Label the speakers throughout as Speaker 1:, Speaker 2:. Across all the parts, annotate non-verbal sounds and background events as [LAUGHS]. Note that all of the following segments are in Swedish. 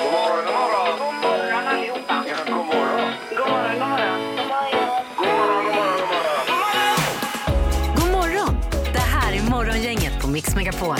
Speaker 1: God morgon, god morgon. God morgon allihopa. Ja, god morgon. God morgon, god morgon. God morgon, god
Speaker 2: God
Speaker 1: morgon, god morgon.
Speaker 2: morgon! Det här är Morgongänget på Mix Megapol.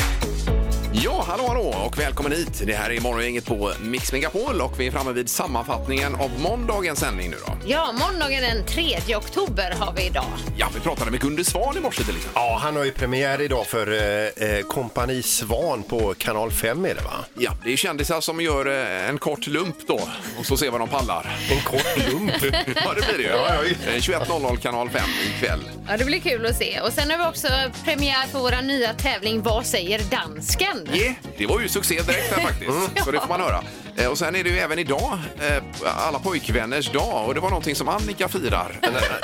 Speaker 3: Ja, hallå, hallå och välkommen hit. Det här är Morgongänget på Mix Megapol och vi är framme vid sammanfattningen av måndagens sändning nu då.
Speaker 4: Ja, måndagen den 3 oktober har vi idag.
Speaker 3: Ja, vi pratade med Gunde Svan i morse till exempel.
Speaker 5: Ja, han har ju premiär idag för eh, eh, Kompani Svan på Kanal 5 är det va?
Speaker 3: Ja, det är kändisar som gör eh, en kort lump då och så ser vad de pallar. [LAUGHS]
Speaker 5: En kort typ. [LAUGHS] lump.
Speaker 3: Ja, det blir det ju.
Speaker 5: Ja, ja, visst.
Speaker 3: Eh, 21.00 kanal 5 ikväll.
Speaker 4: Ja, det blir kul att se. Och sen har vi också premiär för vår nya tävling Vad säger dansken?
Speaker 3: Yeah. Det var ju succé
Speaker 5: [LAUGHS]
Speaker 3: direkt där
Speaker 5: Mm.
Speaker 3: faktiskt, så det får man höra. Eh, Och sen är det ju även idag eh, alla pojkvänners dag och det var någonting som
Speaker 5: [LAUGHS]
Speaker 3: Annika firar.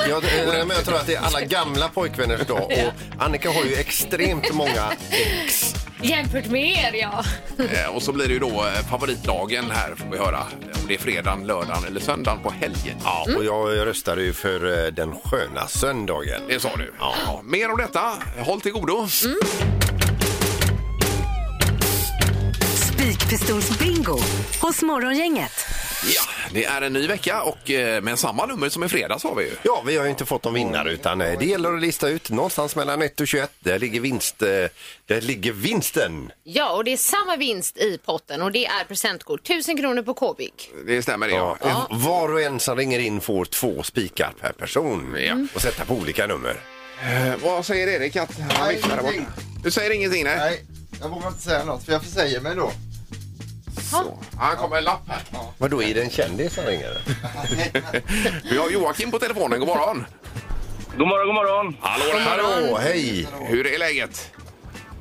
Speaker 5: jag, eh, men jag tror att det är alla gamla pojkvänners dag och Annika har ju extremt många ex.
Speaker 4: Jämfört med er, ja.
Speaker 3: Eh, Och så blir det ju då eh, favoritdagen här får vi höra. Om det är fredag, lördag eller söndag på helgen. Ja,
Speaker 5: Och jag röstade ju för eh, den sköna söndagen.
Speaker 3: det sa du. Ja. Mer om detta. Håll till godo.
Speaker 2: Spikpistolsbingo hos Morgongänget.
Speaker 3: Ja, det är en ny vecka och eh, med samma nummer som i fredags har vi ju.
Speaker 5: Ja, vi har ju inte fått någon vinnare utan eh, det gäller att lista ut någonstans mellan 1 och 21. Där ligger, vinst, eh, där ligger vinsten.
Speaker 4: Ja, och det är samma vinst i potten och det är presentkort. 1000 kronor på Kobik.
Speaker 3: Det stämmer det. Ja.
Speaker 5: Ja. Var och en som ringer in får två spikar per person och sätta på olika nummer.
Speaker 3: Eh, Vad säger Erik? Att han
Speaker 6: Nej,
Speaker 3: viftar där borta?
Speaker 6: ingenting.
Speaker 3: Du säger ingenting? Nej.
Speaker 6: Nej, jag vågar inte säga något för jag försäger mig då.
Speaker 3: Så. Han kommer en lapp här.
Speaker 5: Vadå, är det en kändis som ringer?
Speaker 3: Vi har Joakim på telefonen. God morgon.
Speaker 7: God morgon, god morgon.
Speaker 3: Hallå där.
Speaker 5: Hallå, hej!
Speaker 3: Hur är läget?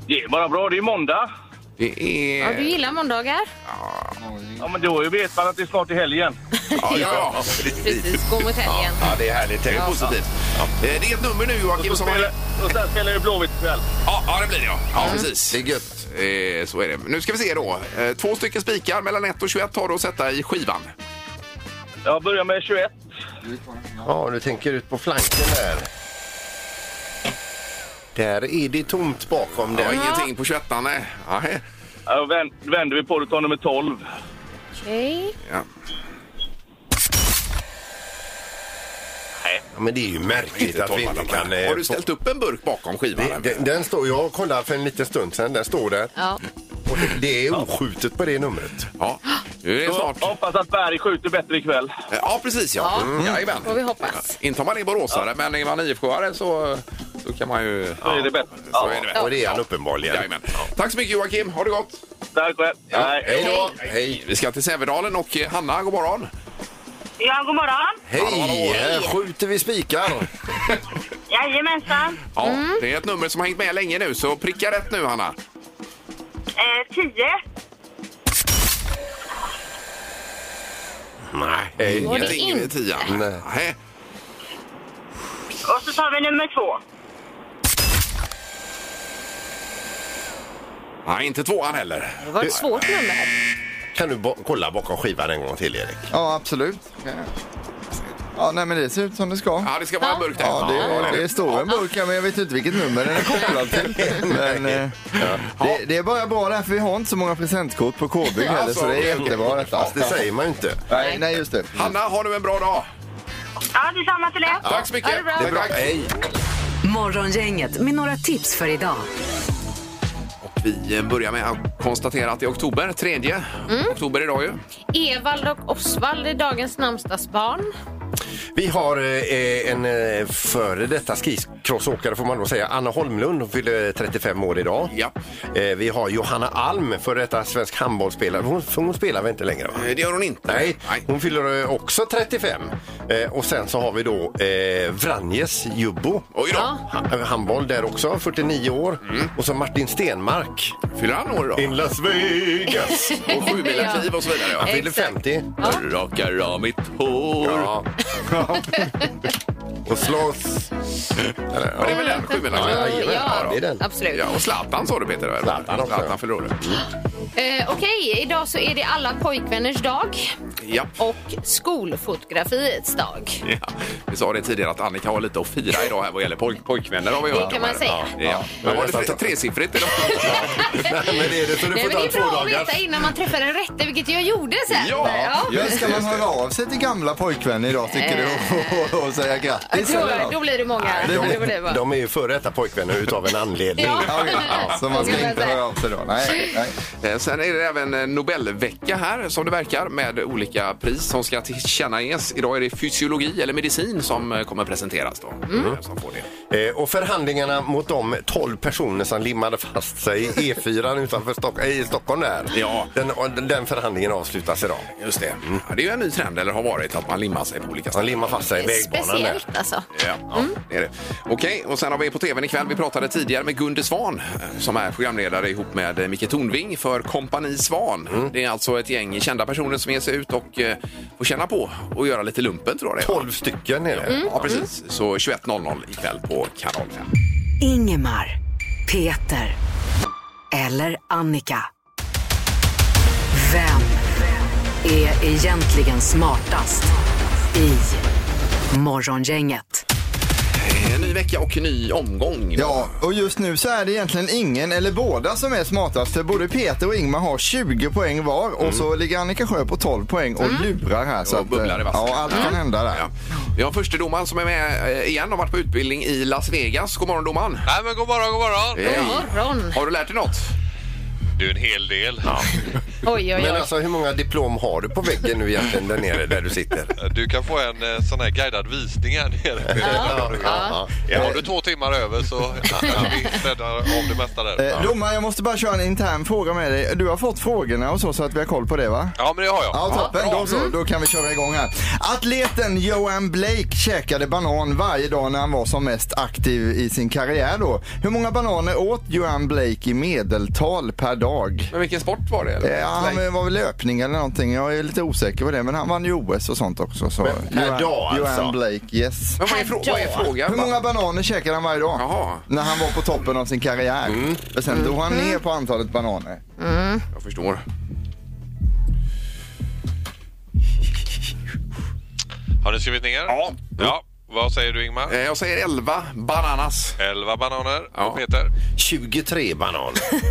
Speaker 7: Det är bara bra. Det är måndag.
Speaker 3: Det är...
Speaker 4: Ja, du gillar måndagar?
Speaker 7: Ja, men då vet man att det är snart i helgen.
Speaker 3: Ja, ja, ja.
Speaker 4: Precis, gå mot helgen.
Speaker 3: Ja, det är härligt. Det är positivt. Eh, Det är ett nummer nu Joakim
Speaker 7: Och,
Speaker 3: som...
Speaker 7: spelar, och sen spelar det Blåvitt ikväll.
Speaker 3: Ja, ja, Mm. det blir det ja. Ja, precis.
Speaker 5: Det är gött.
Speaker 3: Eh, Så är det. Nu ska vi se då. Eh, Två stycken spikar mellan 1 och 21 har du att sätta i skivan.
Speaker 7: Jag börjar med 21.
Speaker 5: Ja, du tänker ut på flanken där. Där är det tomt bakom
Speaker 3: Det var
Speaker 5: den.
Speaker 3: ingenting på 21 nej. Nej.
Speaker 7: Ja, vänd- vänder vi på det och tar nummer 12.
Speaker 4: Okej.
Speaker 3: Ja.
Speaker 5: Ja, men det är ju märkligt att vi inte kan... eh,
Speaker 3: Har du
Speaker 5: få-
Speaker 3: ställt upp en burk bakom skivan?
Speaker 5: Det- Den, den står, jag kollade för en liten stund sedan, den står där.
Speaker 4: Ja.
Speaker 5: Och det, det är oskjutet på det numret.
Speaker 3: Ja, nu är det snart.
Speaker 7: Jag hoppas att Berg skjuter bättre ikväll.
Speaker 3: Eh, Ja, precis ja. Mm. Jajamän.
Speaker 4: Får vi hoppas.
Speaker 3: Inte om man är boråsare, men är man IFK-are så, så kan man ju...
Speaker 7: Då är det bättre.
Speaker 3: Så
Speaker 7: Ja.
Speaker 3: är det väl.
Speaker 5: Och det är han uppenbarligen.
Speaker 3: Jajamän. Tack så mycket Joakim, ha det gott!
Speaker 7: Tack själv. Nej.
Speaker 5: Hej då!
Speaker 3: Hej! Vi ska till Sävedalen och eh, Hanna, god morgon!
Speaker 1: Ja, god morgon.
Speaker 3: Hallå, hallå.
Speaker 5: Hej! Här skjuter vi spikar.
Speaker 1: Jajamensan.
Speaker 3: Ja,
Speaker 4: Mm.
Speaker 3: Det är ett nummer som har hängt med länge nu, så pricka rätt nu Hanna!
Speaker 1: Eh, tio.
Speaker 5: Hej.
Speaker 4: Var det
Speaker 3: Ingenting
Speaker 4: inte?
Speaker 3: i tian.
Speaker 5: Nej.
Speaker 3: Nej.
Speaker 1: Och så tar vi nummer två.
Speaker 3: Nej, inte tvåan heller.
Speaker 4: Det var ett svårt nummer.
Speaker 5: Kan du bo- kolla bakom skivan en gång till, Erik?
Speaker 6: Ja, absolut. Ja, nej men det ser ut som det ska.
Speaker 3: Ja, det ska vara en burk där.
Speaker 6: Ja,
Speaker 3: Ja,
Speaker 6: det, det står en burk här men jag vet inte vilket nummer den är kopplad till. Men, eh, det, det är bara bra där för vi har inte så många presentkort på KB heller så det är jättebra detta.
Speaker 5: Alltså, Fast det säger man ju inte.
Speaker 6: Nej, nej just det.
Speaker 3: Hanna, ha nu en bra dag!
Speaker 1: Ja, detsamma till er.
Speaker 3: Tack så mycket!
Speaker 4: Ha det bra.
Speaker 5: Det är bra. Hej!
Speaker 2: Morgongänget med några tips för idag.
Speaker 3: Och vi eh, börjar med att konstatera att det är oktober, tredje
Speaker 4: Mm.
Speaker 3: oktober idag ju.
Speaker 4: Evald och Osvald är dagens namnsdagsbarn.
Speaker 5: Vi har eh, en eh, före detta skicrossåkare får man då säga. Anna Holmlund, hon fyller 35 år idag.
Speaker 3: Ja.
Speaker 5: Eh, vi har Johanna Alm, före detta svensk handbollsspelare. Hon, för hon spelar väl inte längre? Va?
Speaker 3: Eh, Det gör hon inte.
Speaker 5: Nej, hon fyller eh, också 35. Eh, och sen så har vi då eh, Vranjes Jubbo.
Speaker 3: Oj då.
Speaker 4: Ja.
Speaker 5: Ha- eh, handboll där också, 49 år. Och så Martin Stenmark.
Speaker 3: Fyller han år idag?
Speaker 5: Mm. In Las Vegas!
Speaker 3: Och sjumilarkliv och så vidare.
Speaker 5: Han
Speaker 3: Ja.
Speaker 5: fyller
Speaker 4: Exakt.
Speaker 5: 50.
Speaker 3: Jag Rakar av mitt hår.
Speaker 5: Ja. och slåss. Eller,
Speaker 3: Men det är väl den sjumilansloppet?
Speaker 5: Ja, jajamän.
Speaker 4: ja,
Speaker 5: Ja, det är den.
Speaker 4: absolut.
Speaker 3: Ja, och Zlatan sa du Peter? eller?
Speaker 5: Zlatan också, ja.
Speaker 3: Zlatan förlorade.
Speaker 4: Eh, Okej, idag så är det alla pojkvänners dag
Speaker 3: Ja.
Speaker 4: och skolfotografiets dag.
Speaker 3: Ja, vi sa det tidigare att Annika har lite att fira idag här vad gäller poj pojkvänner. Har vi
Speaker 4: Det
Speaker 3: hört
Speaker 4: kan
Speaker 3: om
Speaker 4: man
Speaker 3: här.
Speaker 4: säga.
Speaker 3: Ja, ja. Men var det tre- tresiffrigt idag?
Speaker 5: Men är det så du
Speaker 4: Nej,
Speaker 5: får
Speaker 4: men
Speaker 5: ta
Speaker 4: det är
Speaker 5: två
Speaker 4: bra att
Speaker 5: dagar?
Speaker 4: veta innan man träffar en rätte, vilket jag gjorde sen.
Speaker 3: Ja.
Speaker 6: Ja, ska man höra av sig till gamla pojkvänner idag tycker du och, och, och säga grattis? eller
Speaker 4: Då,
Speaker 6: något?
Speaker 4: då blir det många.
Speaker 6: det
Speaker 4: då
Speaker 6: blir-
Speaker 4: blir det bara.
Speaker 5: De är ju före detta pojkvänner utav en anledning.
Speaker 4: [LAUGHS] Ja.
Speaker 6: Ja, ja. Så man
Speaker 4: Kan
Speaker 6: ska
Speaker 4: man
Speaker 6: inte
Speaker 4: säga.
Speaker 6: höra av sig då? Nej, nej.
Speaker 3: Eh, Sen är det även eh, Nobelvecka här som det verkar med olika pris som ska tillkännages. Idag är det fysiologi eller medicin som eh, kommer presenteras då. Vem Som får det.
Speaker 5: Eh, och förhandlingarna mot de 12 personer som limmade fast sig i E4 utanför Stock- i Stockholm där.
Speaker 3: Ja.
Speaker 5: Den, och den förhandlingen avslutas idag. Mm.
Speaker 3: Just det. Ja, det är ju en ny trend, eller har varit, att man limmar sig på olika
Speaker 5: De
Speaker 3: ställen.
Speaker 5: limmar fast sig i vägbanan där.
Speaker 4: Speciellt alltså.
Speaker 3: Ja, ja, det är det. Okej, och sen har vi på tvn ikväll, vi pratade tidigare med Gunde Svan eh, som är programledare ihop med eh, Micke Tornving för Kompani Svan. Det är alltså ett gäng kända personer som ger sig ut och eh, får känna på och göra lite lumpen tror jag det är.
Speaker 5: 12 stycken är det.
Speaker 4: Mm.
Speaker 3: Ja, precis. Så 21.00 ikväll på Kanal 5.
Speaker 2: Ingemar, Peter eller Annika. Vem är egentligen smartast i Morgongänget?
Speaker 3: Eh, Ny vecka och ny omgång.
Speaker 6: Ja, och just nu så är det egentligen ingen eller båda som är smartast. För både Peter och Ingmar har 20 poäng var och så ligger Annika Sjö på 12 poäng och lurar här. Så
Speaker 3: Och
Speaker 6: att,
Speaker 3: bubblar i
Speaker 6: eh,
Speaker 3: vassen.
Speaker 6: ja, allt kan hända där.
Speaker 3: Ja. Vi har förstedomaren som är med eh, igen och varit på utbildning i Las Vegas. God morgon domaren!
Speaker 7: Nej, men god morgon, god morgon.
Speaker 3: Hej.
Speaker 4: morgon.
Speaker 3: Har du lärt dig något?
Speaker 7: Du är en hel del.
Speaker 4: Oj, oj,
Speaker 5: Men
Speaker 4: oj.
Speaker 5: alltså hur många diplom har du på väggen nu egentligen där nere där du sitter?
Speaker 7: Du kan få en eh, sån här guidad visning här nere.
Speaker 4: Ja, ja.
Speaker 5: Ja.
Speaker 7: Har du två timmar över så ja, vi räddar av det mesta där.
Speaker 6: Eh, Domaren, jag måste bara köra en intern fråga med dig. Du har fått frågorna och så, så att vi har koll på det va?
Speaker 7: Ja, men det har jag.
Speaker 6: Ja, toppen. Då, så, då kan vi köra igång här. Atleten Johan Blake käkade banan varje dag när han var som mest aktiv i sin karriär då. Hur många bananer åt Johan Blake i medeltal per dag?
Speaker 3: Men vilken sport var det? Eller?
Speaker 6: Ja, han var väl löpning eller någonting. Jag är lite osäker på det, men han vann ju OS och sånt också. Så.
Speaker 5: per dag alltså?
Speaker 6: Johan Blake, yes.
Speaker 3: Men vad, är frå- vad är frågan?
Speaker 6: Hur många bananer käkade han varje dag?
Speaker 3: Jaha.
Speaker 6: När han var på toppen av sin karriär.
Speaker 5: Mm.
Speaker 6: Men sen drog han ner på antalet bananer.
Speaker 3: Jag förstår.
Speaker 7: Har ni skrivit ner?
Speaker 3: Ja.
Speaker 7: ja. Vad säger du Ingmar?
Speaker 3: Eh, Jag säger 11 bananas.
Speaker 7: 11 bananer.
Speaker 3: Ja.
Speaker 7: Och Peter
Speaker 5: 23 bananer.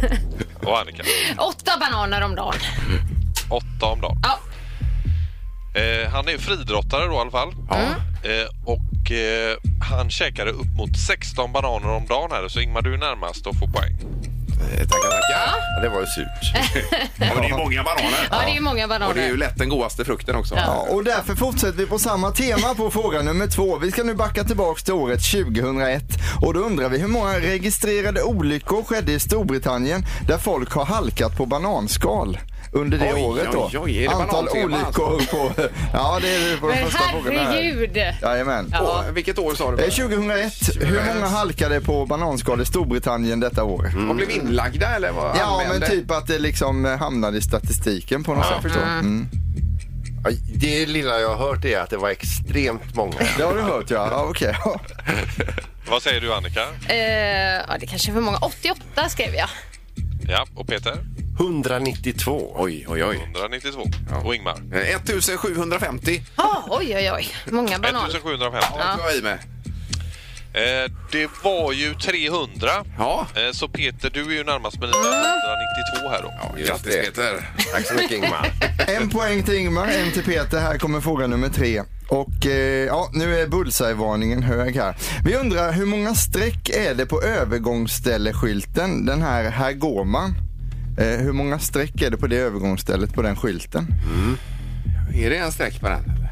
Speaker 3: Eh,
Speaker 7: och Annika.
Speaker 4: Åtta bananer om dagen.
Speaker 7: 8 om dagen.
Speaker 4: Ja.
Speaker 7: Eh, han är friidrottare då i alla fall. Eh, och eh, han käkade upp mot 16 bananer om dagen här. Så Ingmar, du är närmast och får poäng.
Speaker 3: Eh, Tackar, tackar.
Speaker 5: Ja, det var ju surt.
Speaker 3: [LAUGHS] Ja, men det är många bananer.
Speaker 4: Ja, det är ju många bananer.
Speaker 3: Och det är ju lätt den godaste frukten också.
Speaker 6: Ja, och därför fortsätter vi på samma tema på fråga nummer två. Vi ska nu backa tillbaka till året 2001 och då undrar vi hur många registrerade olyckor skedde i Storbritannien där folk har halkat på bananskal under det
Speaker 3: Oj,
Speaker 6: året då?
Speaker 3: oj, oj, är det alltså?
Speaker 6: Antal
Speaker 3: banantema
Speaker 6: olyckor på... Ja, det är det på de
Speaker 4: Men
Speaker 6: första frågorna här.
Speaker 4: herregud.
Speaker 6: Jajamän.
Speaker 4: Ja.
Speaker 3: Och Vilket år sa du?
Speaker 6: Eh, 2001, hur många halkade på bananskal i Storbritannien detta år?
Speaker 3: De blev inlagda eller vad?
Speaker 6: Ja, men
Speaker 3: anmälde?
Speaker 6: typ att det liksom eh, hamnade i statistiken på något sätt. Mm.
Speaker 5: Ja, Det lilla jag har hört är att det var extremt många.
Speaker 6: Det har du hört ja, ja okej. [LAUGHS]
Speaker 7: Vad säger du Annika?
Speaker 4: Eh, ja, det kanske är för många. 88 skrev jag.
Speaker 7: Ja, och Peter?
Speaker 5: 192.
Speaker 3: Oj, oj, oj.
Speaker 7: 192. Och Ingmar?
Speaker 3: Eh, 1750
Speaker 4: Ah, oj, oj, oj. Många bananer.
Speaker 7: 1750.
Speaker 3: ja. jag i med.
Speaker 7: Eh, det var ju 300.
Speaker 3: Ja.
Speaker 7: Eh, så Peter, du är ju närmast med 192 här då.
Speaker 3: Ja,
Speaker 5: Just
Speaker 3: grattis
Speaker 5: det.
Speaker 3: Peter.
Speaker 5: Tack så mycket Ingmar. [LAUGHS]
Speaker 6: En poäng till Ingmar, en till Peter. Här kommer fråga nummer tre. Och eh, ja, nu är bullseye-varningen hög här. Vi undrar hur många streck är det på övergångsställeskylten? Den här Här går man. Eh, hur många streck är det på det övergångsstället på den skylten?
Speaker 3: [LAUGHS] Är det en streck på den? eller?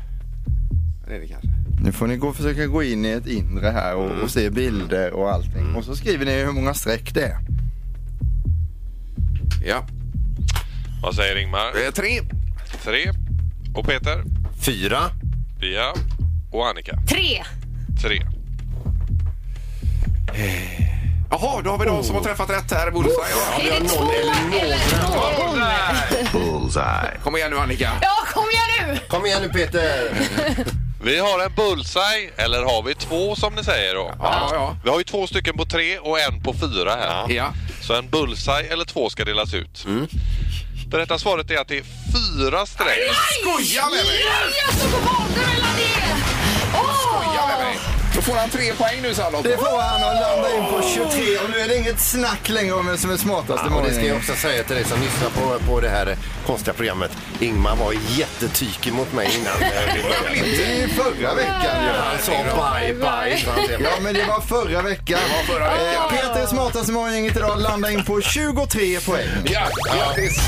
Speaker 3: Det är det kanske.
Speaker 6: Nu får ni gå och försöka gå in i ett inre här och, och se bilder och allting. Och så skriver ni hur många streck det är.
Speaker 3: Ja.
Speaker 7: Vad säger Ingmar?
Speaker 3: Eh, Tre.
Speaker 7: 3. Och Peter?
Speaker 5: Fyra.
Speaker 7: Ja. Och Annika?
Speaker 4: Tre.
Speaker 7: 3.
Speaker 3: Jaha, då har vi de som har träffat rätt här. Bullseye. Ja,
Speaker 4: Är det två eller någon?
Speaker 8: Bullseye.
Speaker 3: Kom igen nu Annika.
Speaker 4: Ja, kom igen nu!
Speaker 5: Kom igen nu Peter.
Speaker 7: Vi har en bullseye, eller har vi två som ni säger då?
Speaker 3: Ja, ja.
Speaker 7: Vi har ju två stycken på tre och en på fyra här.
Speaker 3: Ja.
Speaker 7: Så en bullseye eller två ska delas ut. Det rätta svaret är att det är fyra streck.
Speaker 3: Skoja med mig!
Speaker 4: Jag stod och valde mellan E. det!
Speaker 3: Skoja
Speaker 4: Åh!
Speaker 3: med mig! Då får han tre poäng nu Sallot.
Speaker 6: Det får han att landa in på 23 och nu är det inget snack längre om vem som är smartast i
Speaker 5: Ja, och det ska jag
Speaker 6: morgon.
Speaker 5: också säga till dig som lyssnar på, på det här eh, konstiga programmet. Ingmar var jättetykig mot mig innan eh, vi började.
Speaker 6: I förra veckan ja.
Speaker 5: Han sa bye bye. så han blev-
Speaker 6: Ja men det var förra veckan.
Speaker 5: förra veckan.
Speaker 6: Eh, Peter är smartast i morgongänget idag landar in på 23 poäng.
Speaker 3: Ja, grattis!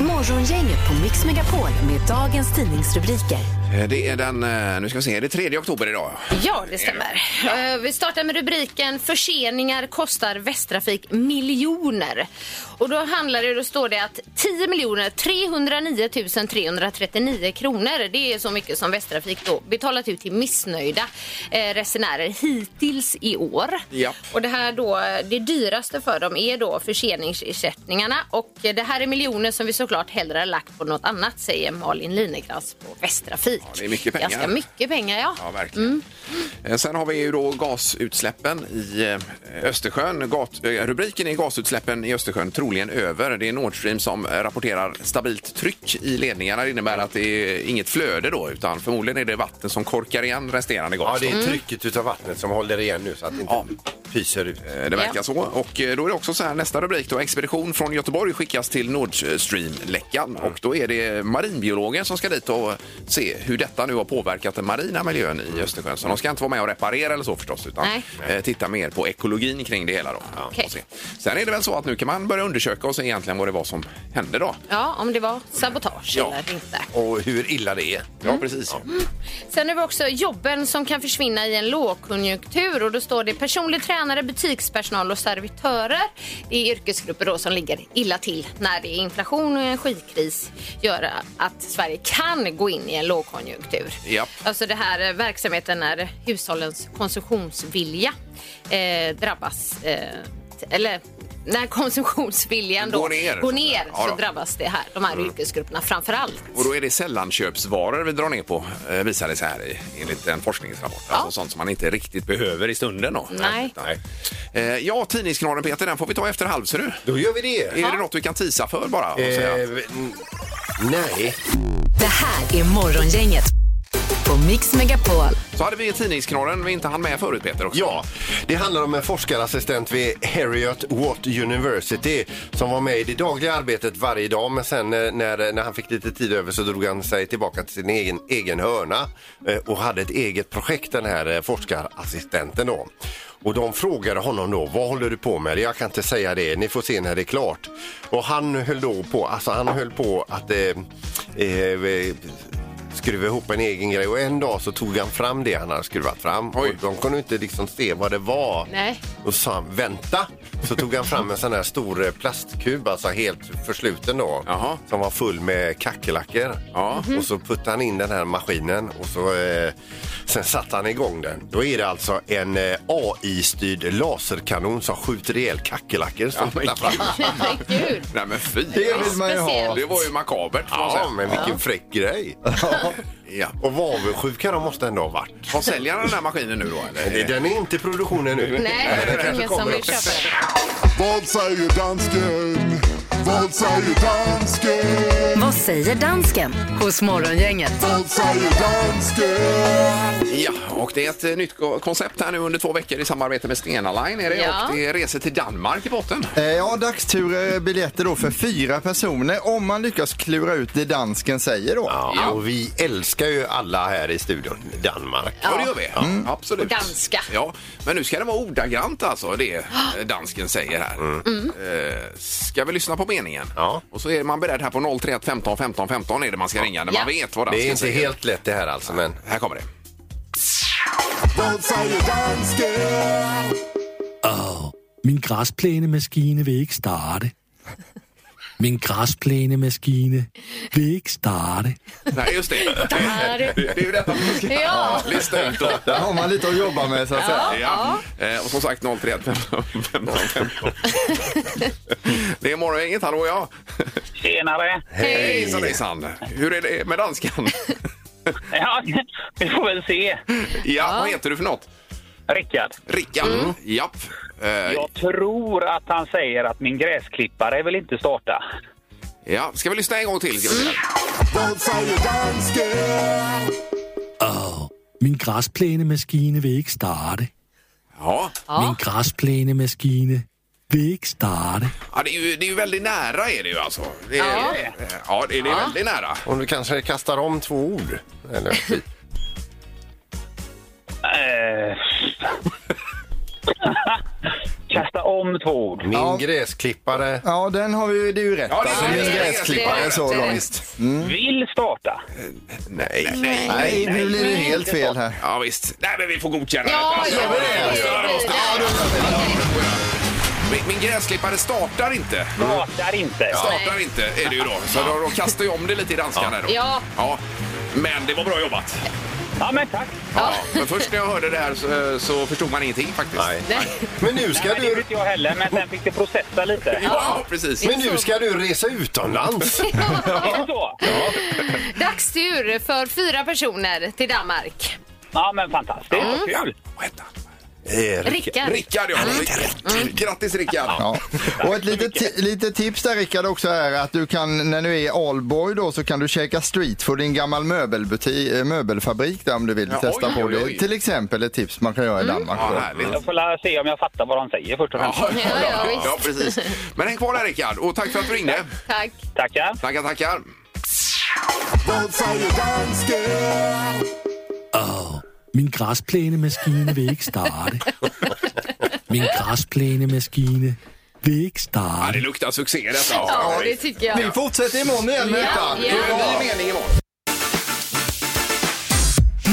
Speaker 2: Morgongänget på Mix Megapol med dagens tidningsrubriker.
Speaker 3: Eh, Det är den, eh, nu ska vi se, det är 3 oktober idag.
Speaker 4: Ja, det stämmer. Eh, Vi startar med rubriken Förseningar kostar Västtrafik miljoner. Och då handlar det, då står det att 10 miljoner 309 339 kronor. Det är så mycket som Västtrafik då betalat ut till missnöjda eh, resenärer hittills i år.
Speaker 3: Ja.
Speaker 4: Och det här då, eh, det dyraste för dem är då förseningsersättningarna och eh, det här är miljoner som vi såklart hellre har lagt på något annat, säger Malin Linekrans på Västtrafik.
Speaker 3: det är mycket pengar.
Speaker 4: Ganska mycket pengar, ja.
Speaker 3: Ja, verkligen. Eh, Sen har vi ju då gasutsläppen i eh, Östersjön. Gat, eh, rubriken är gasutsläppen i Östersjön troligen över. Det är Nord Stream som eh, rapporterar stabilt tryck i ledningarna. Det innebär att det är inget flöde då, utan förmodligen är det vatten som korkar igen resterande gas.
Speaker 5: Ja, det
Speaker 3: då.
Speaker 5: är trycket utav vattnet som håller igen nu så att det inte
Speaker 3: Ja.
Speaker 5: pyser ut.
Speaker 3: Eh, Det verkar
Speaker 4: Ja.
Speaker 3: så. Och eh, då är det också så här, nästa rubrik då. Expedition från Göteborg skickas till Nord
Speaker 5: Mm.
Speaker 3: Stream-läckan. Och då är det marinbiologer som ska dit och se hur detta nu har påverkat den marina miljön i Östersjön. Så de ska inte vara med och reparera eller så förstås, utan
Speaker 4: Nej.
Speaker 3: eh, titta mer på ekologin kring det hela då. Och
Speaker 4: Okej.
Speaker 3: se. Sen är det väl så att nu kan man börja undersöka och se egentligen vad det var som hände då.
Speaker 4: Ja, om det var sabotage
Speaker 3: Ja.
Speaker 4: eller inte.
Speaker 5: Och hur illa det är.
Speaker 3: Ja, precis.
Speaker 4: Sen har vi också jobben som kan försvinna i en lågkonjunktur och då står det personlig tränare, butikspersonal och servitörer. Det är yrkesgrupper då som ligger illa till när det är inflation och energikris gör att Sverige kan gå in i en lågkonjunktur.
Speaker 3: Japp.
Speaker 4: Alltså det här eh, verksamheten när hushållens konsumtionsvilja eh, drabbas eh, t- eller när konsumtionsviljan då
Speaker 3: Går ner,
Speaker 4: går
Speaker 3: så att säga.
Speaker 4: ner
Speaker 3: Ja
Speaker 4: så
Speaker 3: då. Mm.
Speaker 4: drabbas det här, de här yrkesgrupperna framför allt.
Speaker 3: Och då är det sällanköpsvaror vi drar ner på, eh, visar det sig här i, enligt en forskningsrapport. Alltså sånt som man inte riktigt behöver i stunden då.
Speaker 4: Nej.
Speaker 3: Nej. Eh, Ja, tidningsknaren Peter, den får vi ta efter halv ser du.
Speaker 5: Då gör vi det.
Speaker 3: Är det något vi kan tisa för bara? Och
Speaker 5: Eh,
Speaker 3: säga?
Speaker 5: n- nej.
Speaker 2: Det här är Morgongänget på Mix Megapol.
Speaker 3: Så hade vi tidningsknorren vi inte hann med förut Peter också.
Speaker 5: Ja, det handlar om en forskarassistent vid Harriet Watt University som var med i det dagliga arbetet varje dag men sen eh, när, när han fick lite tid över så drog han sig tillbaka till sin egen, egen hörna eh, och hade ett eget projekt den här eh, forskarassistenten då. Och de frågade honom då, vad håller du på med? Jag kan inte säga det, ni får se när det är klart. Och han höll då på, alltså han höll på att eh, eh, skruva ihop en egen grej och en dag så tog han fram det han hade skruvat fram
Speaker 3: Oj.
Speaker 5: och de kunde inte liksom se vad det var.
Speaker 4: Nej.
Speaker 5: Och sa han, vänta! Så tog han fram en sån här stor eh, plastkub, alltså helt försluten då,
Speaker 3: Jaha.
Speaker 5: som var full med kackerlackor.
Speaker 3: Ja.
Speaker 5: Och så puttade han in den här maskinen och så, eh, sen satte han igång den. Då är det alltså en eh, AI-styrd laserkanon som skjuter ihjäl kackerlackor. som
Speaker 3: Ja, men
Speaker 5: tittar fram.
Speaker 4: Men gud.
Speaker 3: Nej men fy! alltså.
Speaker 6: Det vill man ju ha.
Speaker 3: Det var ju makabert får man
Speaker 5: Ja,
Speaker 3: säga.
Speaker 5: men vilken fräck grej!
Speaker 3: Ja.
Speaker 5: Och vad avundsjuka de måste ändå ha varit.
Speaker 3: Har säljaren den här maskinen nu då eller?
Speaker 5: Nej, Den är inte i produktionen nu.
Speaker 4: Nej, det är
Speaker 5: kanske
Speaker 4: ingen som
Speaker 5: kommer.
Speaker 4: vill köpa det.
Speaker 9: Vad säger dansken? Vad säger dansken?
Speaker 2: Vad säger dansken hos Morgongänget?
Speaker 9: Vad säger dansken?
Speaker 3: Ja, och det är ett eh, nytt ko- koncept här nu under två veckor i samarbete med Stena Line är det.
Speaker 4: Ja.
Speaker 3: Och det är resor till Danmark i botten.
Speaker 6: Eh, Ja, dagsturer, biljetter då för fyra personer om man lyckas klura ut det dansken säger då.
Speaker 5: Ja, och vi älskar ju alla här i studion Danmark.
Speaker 3: Ja, det gör vi. Absolut.
Speaker 4: Och danska.
Speaker 3: Ja, men nu ska det vara ordagrant alltså, det eh, dansken säger här. Eh, Ska vi lyssna på meningen?
Speaker 5: Mm. Ja.
Speaker 3: Och så är man beredd här på 031 15 15 15 är det man ska ringa när
Speaker 4: Ja.
Speaker 3: man vet vad dansken
Speaker 5: Det är inte
Speaker 3: säger.
Speaker 5: helt lätt det här alltså, men
Speaker 3: Här kommer det.
Speaker 9: Vad säger dansken?
Speaker 10: Min græsplænemaskine vil ikke starte. Min gräsplänemaskine vill inte starta.
Speaker 3: Nej, just [LAUGHS] det.
Speaker 4: Där.
Speaker 3: Det är ju detta vi ska
Speaker 4: Ja.
Speaker 3: lista ut. Då.
Speaker 6: Där har man lite att jobba med så att säga.
Speaker 3: Ja. Eh, Och som sagt 031 15 15 [LAUGHS] 15. Det är morgongänget, hallå ja.
Speaker 1: Tjenare!
Speaker 4: Hej.
Speaker 3: Hejsan hejsan. Hur är det med [LAUGHS] danskan?
Speaker 1: Ja, vi får väl se.
Speaker 3: Ja, Mm. vad heter du för något?
Speaker 1: Rickard,
Speaker 3: Rickard? Japp. Eh,
Speaker 1: jag tror att han säger att min gräsklippare vill inte starta.
Speaker 3: Ja, ska vi lyssna en gång till? Ska vi se.
Speaker 10: Åh, min gräsplänemaskine vill inte starta.
Speaker 3: Ja.
Speaker 10: Min gräsplänemaskine vill inte starta.
Speaker 3: ja, det är ju, det är ju väldigt nära är det ju alltså. Det är,
Speaker 4: Ja.
Speaker 3: eh, ja, det, det är väldigt nära.
Speaker 5: Om du kanske kastar om två ord. Eller, [LAUGHS]
Speaker 1: Eh. [LAUGHS] Kasta om två ord.
Speaker 5: min gräsklippare.
Speaker 6: Ja, den har vi, det är ju rätt.
Speaker 3: Ja, det är
Speaker 6: alltså,
Speaker 3: rätt.
Speaker 6: min
Speaker 3: Det är rätt.
Speaker 6: gräsklippare
Speaker 4: Det är
Speaker 6: så
Speaker 4: rätt.
Speaker 6: långt.
Speaker 1: Vill starta.
Speaker 3: Nej, nej, nej.
Speaker 6: Nej, nu blir det helt fel här.
Speaker 3: Ja, visst. Nej, men vi får godkänna
Speaker 4: Ja,
Speaker 3: detta.
Speaker 4: gör vi det?
Speaker 3: Ja, det måste vi. Min, min gräsklippare startar inte.
Speaker 1: Startar inte.
Speaker 3: Startar inte är det ju då. Så då, då kastar jag om det lite i danskan här då.
Speaker 4: Ja.
Speaker 3: ja. Men det var bra jobbat.
Speaker 1: Ja, men tack.
Speaker 3: Ja. Men först när jag hörde det här så, så förstod man ingenting faktiskt.
Speaker 5: Nej.
Speaker 4: Nej.
Speaker 5: Men nu ska
Speaker 1: Nej, men det gjorde
Speaker 5: du...
Speaker 1: inte jag heller, men sen fick det processa lite.
Speaker 3: Ja, precis.
Speaker 5: Men nu ska du resa
Speaker 4: [LAUGHS]
Speaker 5: utomlands.
Speaker 1: Är det så?
Speaker 4: Dagstur för fyra personer till Danmark.
Speaker 1: Ja, men fantastiskt. Vad Kul.
Speaker 3: Vad hette han?
Speaker 4: Mm. Rickard.
Speaker 3: Rickard, ja. Mm. Grattis Rickard.
Speaker 6: Ja. Och ett litet, ti- litet tips där Rickard också är att du kan, när du är allboy då, så kan du käka streetfood i en gammal möbelbutik, eh, möbelfabrik där om du vill
Speaker 3: Ja,
Speaker 6: testa
Speaker 3: oj,
Speaker 6: på
Speaker 3: oj,
Speaker 6: det.
Speaker 3: oj. Mm.
Speaker 6: Till exempel ett tips man kan göra i Danmark.
Speaker 3: Ja,
Speaker 6: då.
Speaker 3: härligt.
Speaker 1: Jag får la se om jag fattar vad de säger först och främst.
Speaker 3: Ja,
Speaker 4: Ja, ja, visst.
Speaker 3: ja, precis. Men häng kvar där Rickard och tack för att du ringde.
Speaker 4: Tack.
Speaker 1: Tackar.
Speaker 3: Tackar, tackar.
Speaker 10: Åh, min gräsplänemaskine vill inte starta. Min gräsplänemaskine vill inte
Speaker 3: Ja,
Speaker 10: starta.
Speaker 3: det luktar succé detta.
Speaker 4: Ja, det tycker jag.
Speaker 6: Vi fortsätter imorgon igen med detta.
Speaker 3: Det är en ny mening imorgon.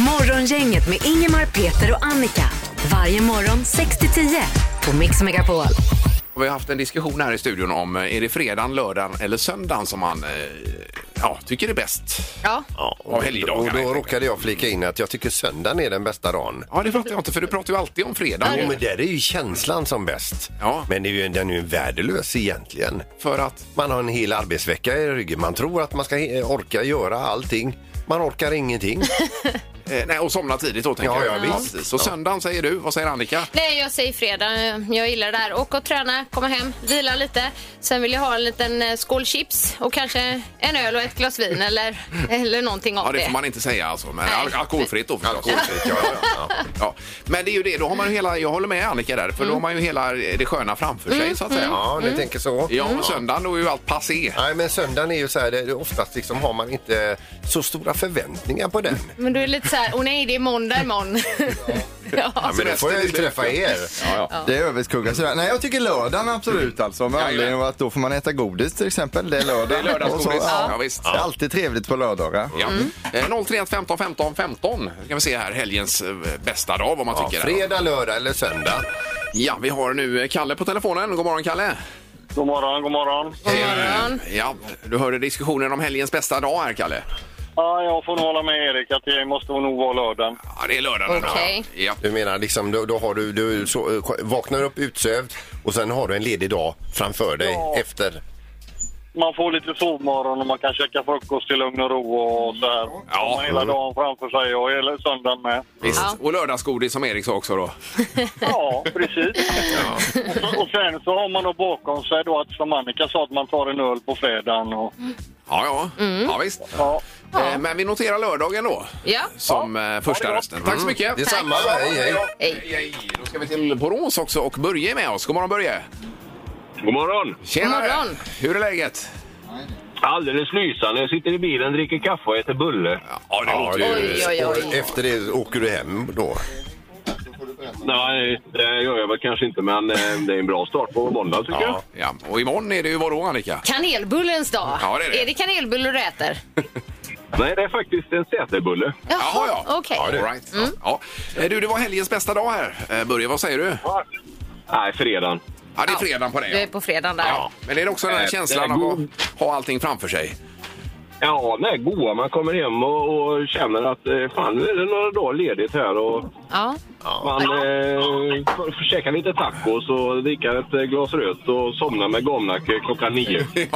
Speaker 2: Morgongänget med Ingemar, Peter och Annika. Varje morgon 6 till 10 på Mix Megapol.
Speaker 3: Och Vi har haft en diskussion här i studion om eh, är det fredagen, lördagen eller söndagen som man eh, ja, tycker är bäst
Speaker 4: Ja.
Speaker 5: Och
Speaker 3: av helgdagarna. helt
Speaker 5: då
Speaker 3: enkelt.
Speaker 5: råkade jag flika in att jag tycker söndagen är den bästa dagen.
Speaker 3: Ja, det fattar jag inte, för du pratar ju alltid om fredag.
Speaker 5: Jo, men där är ju känslan som bäst.
Speaker 3: Ja.
Speaker 5: Men det är ju, den är ju värdelös egentligen.
Speaker 3: För att...
Speaker 5: Man har en hel arbetsvecka i ryggen. Man tror att man ska he- orka göra allting. Man orkar ingenting. [LAUGHS]
Speaker 3: Eh, nej, och somna tidigt då, tänker
Speaker 5: Ja,
Speaker 3: jag.
Speaker 5: ja, visst.
Speaker 3: precis. Så söndagen säger du. Vad säger Annika?
Speaker 4: Nej, jag säger fredag. Jag gillar det här. Åka och träna, komma hem, vila lite. Sen vill jag ha en liten eh, skål chips och kanske en öl och ett glas
Speaker 3: [LAUGHS]
Speaker 4: vin eller, eller någonting av
Speaker 3: Ja,
Speaker 4: det.
Speaker 3: det får man inte säga alltså. Men
Speaker 4: Nej.
Speaker 3: al- alkoholfritt då förstås.
Speaker 5: Alkoholfritt, ja, ja, ja.
Speaker 3: [LAUGHS] Ja. Men det är ju det, då har man ju hela, jag håller med Annika där,
Speaker 5: Mm.
Speaker 3: för då har man ju hela det sköna framför sig så att säga.
Speaker 5: Ja, ni tänker så.
Speaker 3: Ja, och söndagen då är ju allt passé.
Speaker 5: Nej, men söndagen är ju så här, det är oftast liksom har man inte så stora förväntningar på den.
Speaker 4: Men du är det lite så här, åh nej, det är måndag imorgon. [LAUGHS] ja.
Speaker 5: Ja, men då får jag ju träffa er.
Speaker 6: Det överskuggar sådär. Nej, jag tycker lördagen absolut alltså. Med anledning av att då får man äta godis till exempel. Det är lördag.
Speaker 3: Det är lördagsgodis.
Speaker 6: Och så, ja.
Speaker 3: Ja, visst.
Speaker 6: Det är alltid trevligt på lördagar. Mm.
Speaker 3: Ja.
Speaker 5: Mm.
Speaker 3: Eh, 031 15 15 15 ska vi se här helgens eh, bästa dag vad man
Speaker 5: Ja,
Speaker 3: tycker.
Speaker 5: fredag, lördag eller söndag.
Speaker 3: Ja, vi har nu eh, Kalle på telefonen. God morgon Kalle!
Speaker 1: God morgon, god morgon.
Speaker 4: God morgon.
Speaker 3: Ja, du hörde diskussionen om helgens bästa dag här Kalle.
Speaker 1: Ja, jag får nog hålla med Erik att det måste nog vara lördagen.
Speaker 3: Ja, det är lördagen idag.
Speaker 4: Okej.
Speaker 3: Ja.
Speaker 5: Du menar liksom, då, då har du, du så, eh, vaknar upp utsövd och sen har du en ledig dag framför dig
Speaker 1: Ja.
Speaker 5: efter.
Speaker 1: Man får lite sovmorgon och man kan käka frukost i lugn och ro och så här.
Speaker 3: Ja.
Speaker 1: Man har hela dagen framför sig och hela söndagen med.
Speaker 3: Visst.
Speaker 4: Ja.
Speaker 3: Och lördagsgodis som Erik sa också då.
Speaker 1: Ja, precis. Och, så, och sen så har man då bakom sig då att som Annika sa att man tar en öl på fredagen och
Speaker 3: Ja, ja. ja visst.
Speaker 1: ja.
Speaker 3: Eh, Men vi noterar lördagen då
Speaker 4: Ja.
Speaker 3: som eh, första
Speaker 1: bra.
Speaker 3: rösten. Tack så mycket!
Speaker 5: Detsamma, hej hej.
Speaker 4: Hej.
Speaker 3: Hej, hej. Då ska vi till Borås också och Börje är med oss. God morgon Börje!
Speaker 1: God morgon!
Speaker 3: Tjena!
Speaker 4: God morgon.
Speaker 3: Hur är läget?
Speaker 1: Alldeles lysande. Jag sitter i bilen, dricker kaffe och äter bulle.
Speaker 3: Ja, det låter ju...
Speaker 4: Oj, oj,
Speaker 5: Och
Speaker 4: oj.
Speaker 5: efter det åker du hem då.
Speaker 1: Nej, det gör jag väl kanske inte, men eh, det är en bra start på måndag tycker jag.
Speaker 3: Ja, ja. Och imorgon är det ju vadå Annika?
Speaker 4: Kanelbullens dag.
Speaker 3: Ja, det är det.
Speaker 4: Är det kanelbullar du äter?
Speaker 1: Nej, det är faktiskt en sätebulle.
Speaker 3: Jaha, ja.
Speaker 4: Okej.
Speaker 3: Ja, det. All right. ja. Eh, Du, det var helgens bästa dag här. Eh, Börje, vad säger du?
Speaker 1: Nej, fredagen.
Speaker 3: Ja, det är fredagen på det.
Speaker 4: Du är på fredagen där.
Speaker 3: Ja, men är det också den här
Speaker 11: Nej,
Speaker 3: känslan
Speaker 11: det är
Speaker 3: av att ha allting framför sig?
Speaker 11: Ja, nej, goa. Man kommer hem och, och känner att eh, fan, nu är det några dagar ledigt här. Och
Speaker 4: Ja.
Speaker 11: Man eh, får- får käka lite tacos och dricka ett eh, glas rött och somna med Gamnacke klockan
Speaker 5: [LAUGHS]
Speaker 11: nio.
Speaker 3: ja,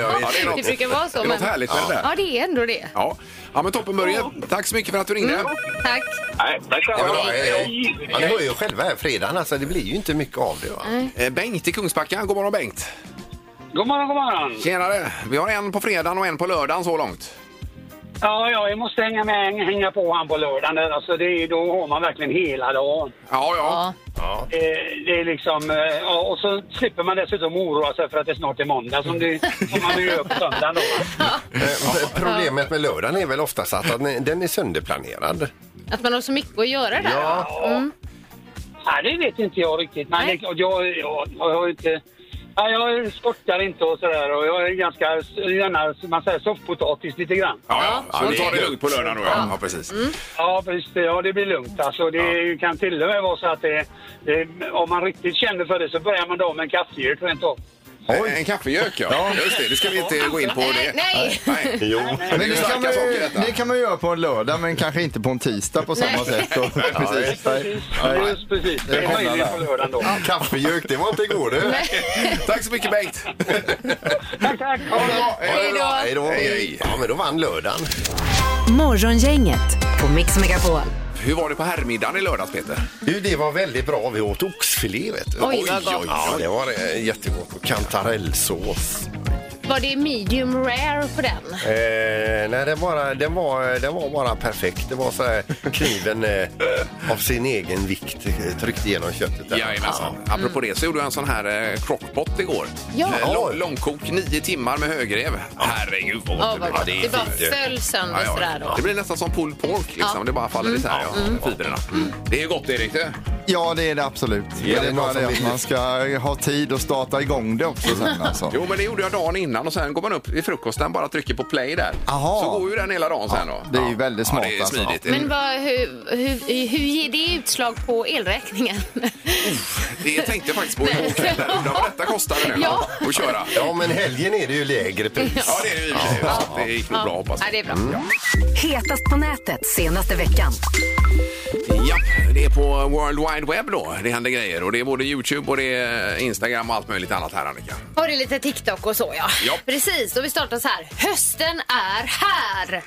Speaker 5: ja,
Speaker 4: [LAUGHS] det brukar vara så.
Speaker 3: Det är något
Speaker 4: men-
Speaker 3: härligt med det där.
Speaker 4: Ja, det är ändå det.
Speaker 3: Ja. ja, men toppen Börje. Tack så mycket för att du
Speaker 4: Mm.
Speaker 3: ringde.
Speaker 4: Tack.
Speaker 11: Nej, tack
Speaker 5: Ja, bra, hej, hej. Ja, ni hör ju själva här fredagen, alltså, det blir ju inte mycket av det. Va?
Speaker 12: Mm.
Speaker 3: Eh, Bengt i Kungsbacka. God morgon Bengt.
Speaker 12: God morgon, god morgon.
Speaker 3: Tjenare. Vi har en på fredagen och en på lördagen så långt.
Speaker 12: Ja, ja, jag måste hänga med, hänga på han på lördagen där. Alltså det är, då har man verkligen hela dagen.
Speaker 3: Ja, ja.
Speaker 12: Eh, det är liksom, eh, ja, och så slipper man dessutom oroa sig för att det snart är måndag som, det, som man
Speaker 5: [LAUGHS]
Speaker 12: nu gör på söndagen då.
Speaker 5: Eh, Problemet med lördagen är väl oftast att ni- den är sönderplanerad.
Speaker 4: [LAUGHS] Att man har så mycket att göra där.
Speaker 5: Ja.
Speaker 4: Mm.
Speaker 12: Nej, det vet inte jag riktigt. Men det, och jag, jag, jag har ju inte... Nej, jag sportar inte och sådär och jag är ganska, gärna, som man säger, soffpotatis lite grann.
Speaker 3: Ja, ja.
Speaker 12: så
Speaker 3: ja du
Speaker 12: är
Speaker 3: tar
Speaker 12: det.
Speaker 3: det lugnt på lördagen då ja. ja precis.
Speaker 12: Ja, visst. Ja, det blir lugnt. Alltså, det kan till och med vara så att det, det, om man riktigt känner för det så börjar man dagen med en kaffegök rent av.
Speaker 3: Oj. Eh, En kaffegök ja. Just det, det ska vi inte gå in på det.
Speaker 4: Nej.
Speaker 3: Nej.
Speaker 5: Jo.
Speaker 3: Men
Speaker 6: Men
Speaker 3: det är
Speaker 6: det kan, man
Speaker 3: starka saker
Speaker 6: ju,
Speaker 3: detta.
Speaker 6: det kan man göra på en lördag men kanske inte på en tisdag på samma
Speaker 3: Nej.
Speaker 6: sätt. Och,
Speaker 3: Nej,
Speaker 6: precis. Nej. Nej.
Speaker 12: Just precis. Det är
Speaker 6: Jag kollar
Speaker 12: möjligt
Speaker 6: där.
Speaker 12: på lördagen då.
Speaker 5: Kaffegök, det var inte igår du.
Speaker 3: [LAUGHS] Tack så mycket Bengt.
Speaker 12: Tack, tack. Ha det bra.
Speaker 5: Hej då. Ja, men då vann lördagen.
Speaker 2: Morgongänget på Mix Megapol.
Speaker 3: Hur var det på herrmiddagen i lördags Peter?
Speaker 5: Du, det var väldigt bra. Vi åt oxfilé vet du.
Speaker 4: Oj, vad gott.
Speaker 5: Ja, det var eh, jättegott. Och kantarellsås.
Speaker 4: Var det medium rare på den?
Speaker 5: Eh, nej, den, bara, den, var, den var bara perfekt. Det var så här kniven eh, av sin egen vikt eh, tryckt igenom köttet. där.
Speaker 3: Jajamensan.
Speaker 5: Mm.
Speaker 3: Apropå det så gjorde jag en sån här eh, crockpot igår.
Speaker 4: Ja.
Speaker 3: Eh, lång, långkok, nio timmar med högrev. Herregud vad
Speaker 4: Ja, vad
Speaker 3: blev.
Speaker 4: gott. Det bara föll sönder sådär då.
Speaker 3: Det blir nästan som pulled pork liksom.
Speaker 4: Ja.
Speaker 3: Det bara faller
Speaker 4: Mm.
Speaker 3: isär. Ja,
Speaker 4: Mm.
Speaker 3: Fibrerna. Det är gott Erik det.
Speaker 6: Ja, det är det absolut.
Speaker 3: Ja,
Speaker 6: det
Speaker 3: det
Speaker 6: är
Speaker 3: är
Speaker 6: bara
Speaker 3: någon som
Speaker 6: det att
Speaker 3: vill.
Speaker 6: man ska ha tid att starta igång det också sen alltså.
Speaker 3: Jo men det gjorde jag dagen innan och sen går man upp i frukosten bara trycker på play där.
Speaker 6: Aha.
Speaker 3: Så går ju den hela dagen sen då.
Speaker 6: Det är ju väldigt smart
Speaker 3: Ja, det är
Speaker 6: alltså.
Speaker 3: smidigt.
Speaker 4: Men vad, hur, hur, hur ger det utslag på elräkningen?
Speaker 3: Det tänkte jag faktiskt på igår kväll. där. Undrar vad detta kostade nu
Speaker 4: Ja.
Speaker 3: att köra.
Speaker 5: Ja, men helgen är det ju lägre pris.
Speaker 3: Ja, det är det ju. Så Det gick nog bra hoppas
Speaker 4: Ja, det är bra.
Speaker 2: Hetast på nätet senaste veckan.
Speaker 3: Ja, det är på World Wide Web då. Det händer grejer och det är både Youtube och det är Instagram och allt möjligt annat här Annika.
Speaker 4: Har det lite TikTok och så ja. Precis, och vi startar så här. Hösten är här!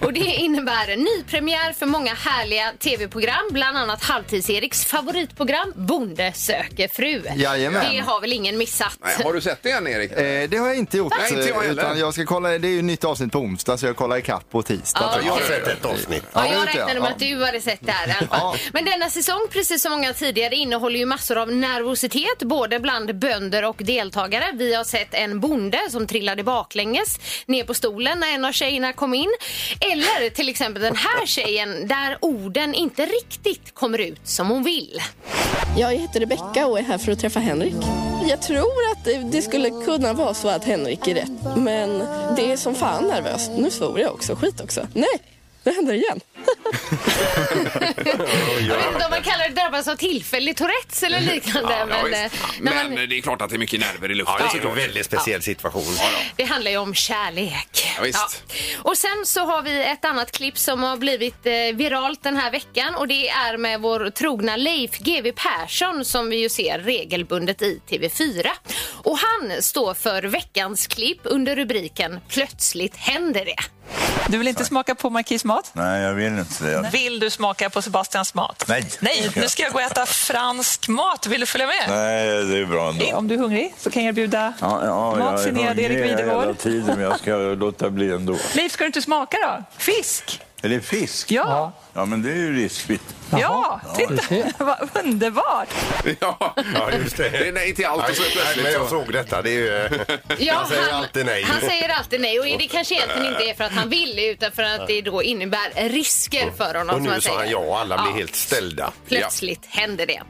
Speaker 4: Och det innebär en ny premiär för många härliga tv-program. Bland annat Halvtids-Eriks favoritprogram Bonde söker fru.
Speaker 6: Jajamän.
Speaker 4: Det har väl ingen missat?
Speaker 3: Nej, har du sett det än Erik?
Speaker 6: Eh, det har jag inte gjort.
Speaker 4: Nej, inte jag
Speaker 6: eh,
Speaker 4: heller.
Speaker 6: utan jag ska kolla, det är ju ett nytt avsnitt på onsdag så jag kollar ikapp på tisdag.
Speaker 4: Ja,
Speaker 6: tror
Speaker 4: jag har
Speaker 5: sett ett avsnitt.
Speaker 4: Ja,
Speaker 6: det
Speaker 4: jag
Speaker 6: vet
Speaker 4: räknade med
Speaker 6: Ja.
Speaker 4: att du hade sett det här i alla fall. Men denna säsong, precis som många tidigare, innehåller ju massor av nervositet både bland bönder och deltagare. Vi har sett en bonde som trillade baklänges ner på stolen när en av tjejerna kom in. Eller till exempel den här tjejen där orden inte riktigt kommer ut som hon vill.
Speaker 13: Jag heter Rebecka och är här för att träffa Henrik. Jag tror att det- det skulle kunna vara så att Henrik är rätt, men det är som fan nervöst. Nu svor jag också, skit också. Nej, det händer igen.
Speaker 4: Jag vet inte om man kallar det drabbas av tillfällig Tourettes eller liknande.
Speaker 3: Ja,
Speaker 4: men, eh,
Speaker 3: visst.
Speaker 4: när
Speaker 3: men det är klart att det är mycket nerver i luften.
Speaker 4: Ja, det är
Speaker 3: såklart.
Speaker 4: en väldigt speciell
Speaker 5: situation.
Speaker 4: Det handlar ju om kärlek.
Speaker 3: Ja, visst.
Speaker 4: Och sen så har vi ett annat klipp som har blivit eh, viralt den här veckan och det är med vår trogna Leif GW Persson som vi ju ser regelbundet i TV4. Och han står för veckans klipp under rubriken Plötsligt
Speaker 5: [LAUGHS]
Speaker 4: händer det.
Speaker 14: Du vill inte smaka på Marquis mat?
Speaker 15: Nej, jag vill inte det.
Speaker 14: Vill du smaka på Sebastians mat?
Speaker 15: Nej.
Speaker 14: Nej, nu ska jag gå och äta fransk mat. Vill du följa med?
Speaker 15: Nej, det är bra
Speaker 14: Eh, Om du är hungrig så kan jag bjuda
Speaker 15: Ja, ja,
Speaker 14: mat
Speaker 15: jag är
Speaker 14: signerad Erik
Speaker 15: hungrig hela
Speaker 14: Videgård.
Speaker 15: tiden, men jag ska låta bli ändå.
Speaker 14: Leif, ska du inte smaka då? Fisk?
Speaker 15: Är det fisk? Ja. Ja, men det är ju riskfritt.
Speaker 14: Ja, titta! Vad underbart!
Speaker 3: [LAUGHS] Ja,
Speaker 5: ja, just det.
Speaker 3: Det är nej till allt och så
Speaker 5: Nej,
Speaker 3: plötsligt
Speaker 5: nej, men jag
Speaker 3: så-
Speaker 5: såg detta. Det är
Speaker 4: [LAUGHS]
Speaker 5: ju... eh,
Speaker 4: Ja,
Speaker 5: han säger
Speaker 4: han-
Speaker 5: alltid nej.
Speaker 4: Han säger alltid nej och det kanske egentligen inte är för att han vill utan för att det då innebär risker för honom.
Speaker 5: Och
Speaker 4: som
Speaker 5: nu
Speaker 4: säger.
Speaker 5: sa han ja och alla blir
Speaker 4: Ja.
Speaker 5: helt ställda.
Speaker 4: Plötsligt händer det.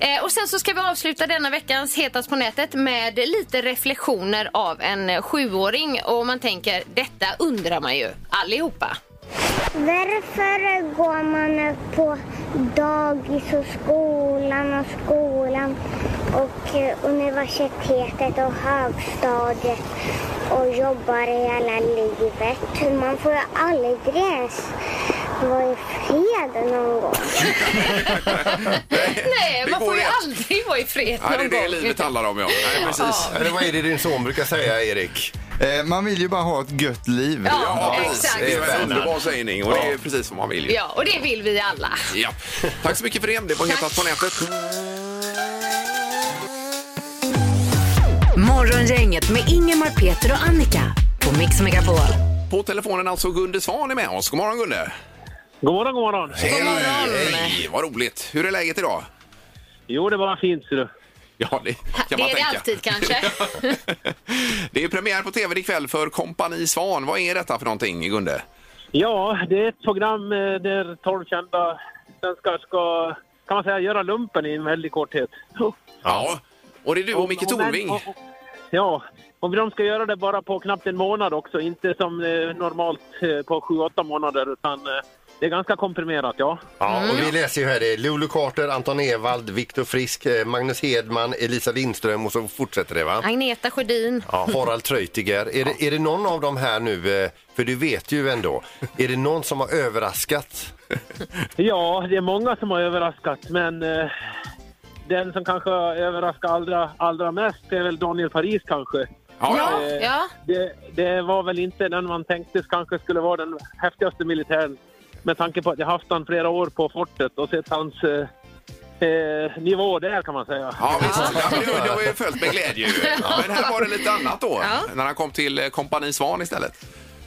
Speaker 4: Eh, och sen så ska vi avsluta denna veckans Hetast på nätet med lite reflektioner
Speaker 3: [LAUGHS]
Speaker 4: av en eh, sjuåring. Och om man tänker, detta undrar man ju allihopa.
Speaker 16: Varför går man på dagis och skolan och skolan och eh, universitetet och högstadiet och jobbar hela livet? Man får ju aldrig ens vara i fred någon gång.
Speaker 4: Nej, man får ju aldrig vara i fred
Speaker 3: Nej, det
Speaker 4: någon
Speaker 3: är det
Speaker 4: gång.
Speaker 3: livet handlar om, ja. Nej, precis.
Speaker 6: Ja.
Speaker 5: Eller vad är det din son brukar säga, Erik?
Speaker 6: Eh, man vill ju bara ha ett gött liv.
Speaker 3: Ja,
Speaker 4: exakt.
Speaker 3: precis. Det är en underbar sägning och det är precis vad man vill ju.
Speaker 4: Ja, och det vill vi alla.
Speaker 3: Ja. Tack så mycket för det. Det var Hetast på nätet.
Speaker 2: Morgongänget med Ingemar, Peter och Annika på Mix Megapol.
Speaker 3: På telefonen alltså Gunde Svan är med oss. God morgon Gunde!
Speaker 17: God morgon, god morgon!
Speaker 3: Hej, hej! Vad roligt! Hur är läget idag?
Speaker 17: Jo, det var fint ser du.
Speaker 3: Ja, det kan man
Speaker 4: det är det
Speaker 3: tänka.
Speaker 4: alltid kanske.
Speaker 3: [LAUGHS] Det är premiär på tv ikväll för Kompani Svan. Vad är detta för någonting Gunde?
Speaker 17: Ja, det är ett program eh, där 12 kända svenskar ska, kan man säga, göra lumpen i en väldig korthet.
Speaker 3: Ja, och det är du och Micke Tornving.
Speaker 17: och- och- Ja, och de ska göra det bara på knappt en månad också, inte som eh, normalt eh, på 7-8 månader, utan eh, det är ganska komprimerat, ja.
Speaker 5: Ja, och vi läser ju här det. är Lulu Carter, Anton Ewald, Viktor Frisk, eh, Magnus Hedman, Elisa Lindström och så fortsätter det va?
Speaker 4: Agneta Sjödin.
Speaker 5: Ja, Harald Treutiger. Är det, är det någon av dem här nu, eh, för du vet ju ändå, är det någon som har överraskat?
Speaker 17: Ja, det är många som har överraskat, men eh, den som kanske har överraskat allra, allra mest är väl Daniel Paris kanske.
Speaker 4: Ja, ja.
Speaker 17: Eh,
Speaker 4: Ja.
Speaker 17: Det, det var väl inte den man tänkte kanske skulle vara den häftigaste militären med tanke på att jag haft han flera år på fortet och sett hans eh, eh, nivå där kan man säga.
Speaker 3: Ja, visst. Ja, men det, det har ju följt med glädje ju. Men här var det lite annat då,
Speaker 17: Ja.
Speaker 3: när han kom till eh, Kompani Svan istället.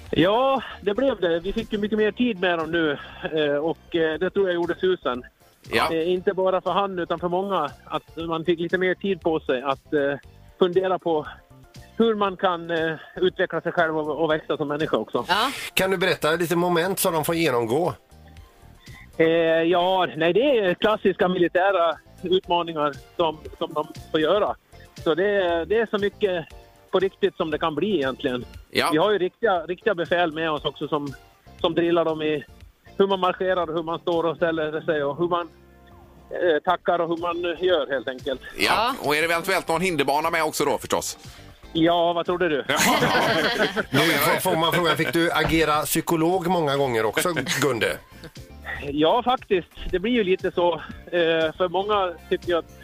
Speaker 17: Ja, det blev det. Vi fick ju mycket mer tid med dem nu eh, och eh, det tror jag gjorde susen.
Speaker 3: Ja.
Speaker 17: Eh, Inte bara för han utan för många. Att man fick lite mer tid på sig att eh, fundera på hur man kan eh, utveckla sig själv och, och växa som människa också.
Speaker 5: Kan du berätta lite moment som de får genomgå?
Speaker 17: Eh, ja, nej det är klassiska militära utmaningar som, som de får göra. Så det, är- det är så mycket på riktigt som det kan bli egentligen.
Speaker 3: Ja.
Speaker 17: Vi har ju riktiga, riktiga befäl med oss också som, som drillar dem i hur man marscherar, hur man står och ställer sig och hur man eh, tackar och hur man gör helt enkelt.
Speaker 3: Ja. Och är det eventuellt någon hinderbana med också då förstås?
Speaker 17: Ja, vad trodde du?
Speaker 5: Nu får- får man frågan, fick du agera psykolog många gånger också, Gunde?
Speaker 17: Ja, faktiskt. Det blir ju lite så. Eh, för många tycker ju att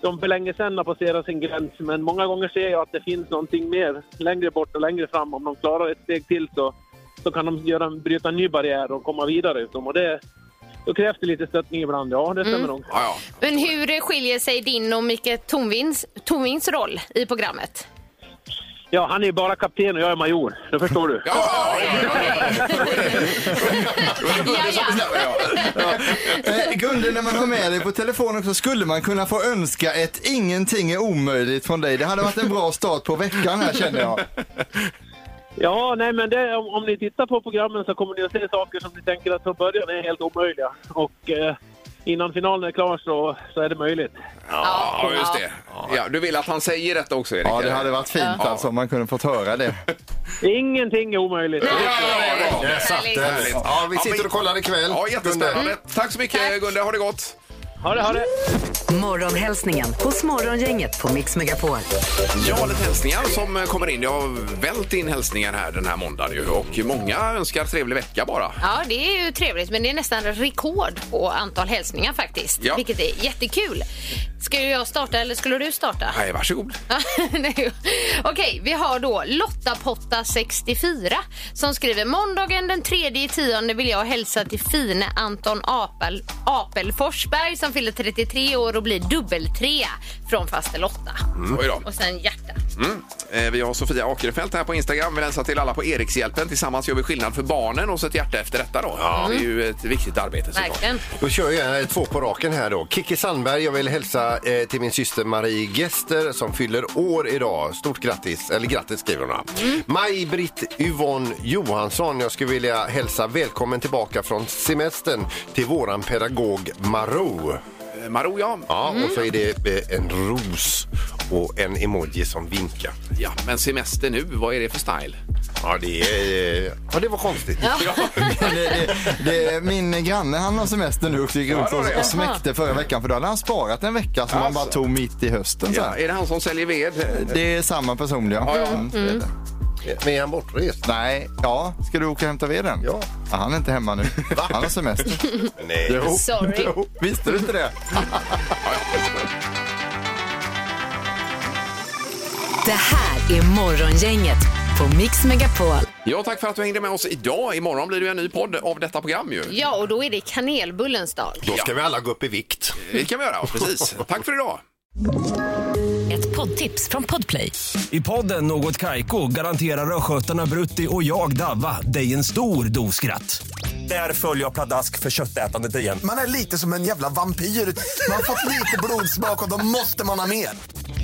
Speaker 17: de för länge sedan har passerat sin gräns. Men många gånger ser jag att det finns någonting mer längre bort och längre fram. Om de klarar ett steg till så, så kan de göra, en- bryta en ny barriär och komma vidare. Utom. Och det, då krävs det lite stöttning ibland. Ja, det stämmer
Speaker 4: Mm.
Speaker 17: nog.
Speaker 3: Ja,
Speaker 4: Men hur skiljer sig din och Micke Tornvings, Tornvings roll i programmet?
Speaker 17: ja, han är ju bara kapten och jag är major. Det förstår du.
Speaker 6: Eh, Gunde, när man har med dig på telefon också skulle man kunna få önska ett ingenting är omöjligt från dig. Det hade varit en bra start på veckan här känner jag.
Speaker 17: Ja, nej men det, om, om ni tittar på programmen så kommer ni att se saker som ni tänker att från början är helt omöjliga. Och eh, innan finalen är klar så, så är det möjligt.
Speaker 3: Ja, just det. Ja, du vill att han säger detta också, Erik?
Speaker 6: Ja, det
Speaker 3: eller?
Speaker 6: hade varit fint
Speaker 3: Ja.
Speaker 6: alltså om man kunde fått höra det.
Speaker 17: Ingenting är omöjligt.
Speaker 5: Där satt den.
Speaker 3: Härligt.
Speaker 5: Ja, vi sitter och kollar ikväll.
Speaker 3: Ja, jättespännande. Tack så mycket Gunde, ha det gott!
Speaker 17: Ha det, ha det!
Speaker 2: Morgonhälsningen hos Morgongänget på Mix Megapol.
Speaker 3: Ja, lite hälsningar som eh, kommer in. Det har vält in hälsningar här den här måndagen ju. Och många önskar trevlig vecka bara.
Speaker 4: Ja, det är ju trevligt, men det är nästan rekord på antal hälsningar faktiskt,
Speaker 3: Ja.
Speaker 4: vilket är jättekul. Ska ju jag starta eller skulle du starta?
Speaker 3: Nej, varsågod.
Speaker 4: Ja, [LAUGHS] nej. Okej, vi har då Lotta Potta 64 som skriver måndagen den 3 i tionde vill jag hälsa till fine Anton Apel, Apel Forsberg som fyller 33 år och blir dubbeltrea från faster Lotta.
Speaker 3: Mm. Oj då.
Speaker 4: Och sen hjärta.
Speaker 3: Mm. Eh, Vi har Sofia Akerfeldt här på Instagram. Vi hälsar till alla på Erikshjälpen. Tillsammans gör vi skillnad för barnen och så ett hjärta efter detta då. Det är ju ett viktigt arbete såklart.
Speaker 4: Verkligen.
Speaker 5: Då kör jag eh, två på raken här då. Kiki Sandberg, jag vill hälsa eh, till min syster Marie Gester som fyller år idag. Stort grattis, eller grattis skriver hon. Mm. Maj-Britt Yvonne Johansson, jag skulle vilja hälsa välkommen tillbaka från semestern till våran pedagog Marou.
Speaker 3: Marou Eh, ja.
Speaker 5: Ja, och så är det eh, en ros och en emoji som vinkar.
Speaker 3: Ja, men semester nu, vad är det för style?
Speaker 5: Ja, det, är, eh, ja, det var konstigt.
Speaker 6: Det, min granne han har semester nu och gick runt
Speaker 3: det var det.
Speaker 6: och, och smäckte förra veckan för då hade han sparat en vecka som han bara
Speaker 3: Alltså.
Speaker 6: tog mitt i hösten. Så
Speaker 3: Ja,
Speaker 6: här.
Speaker 3: är det han som säljer ved?
Speaker 6: Det är samma person ja. Mm, det är det.
Speaker 5: Men är han bortrest?
Speaker 6: Nej, ja. Ska du åka och hämta veden? Ja. Han är inte hemma nu. Han har semester. [LAUGHS]
Speaker 5: Nej.
Speaker 6: Jo,
Speaker 4: Sorry.
Speaker 6: jo. Visste du inte det?
Speaker 2: Det här är Morgongänget på Mix Megapol.
Speaker 3: Ja, tack för att du hängde med oss idag. Imorgon blir det ju en ny podd av detta program ju.
Speaker 4: Ja, och då är det kanelbullens dag.
Speaker 5: Då ska vi alla gå upp i vikt.
Speaker 3: Det kan vi göra, precis. Tack för idag.
Speaker 2: Ett poddtips från Podplay.
Speaker 18: I podden Något Kaiko garanterar östgötarna Brutti och jag, Davva, dig en stor dos skratt. Där följer jag pladask för köttätandet igen.
Speaker 19: Man är lite som en jävla vampyr. Man har fått lite blodsmak och då måste man ha mer.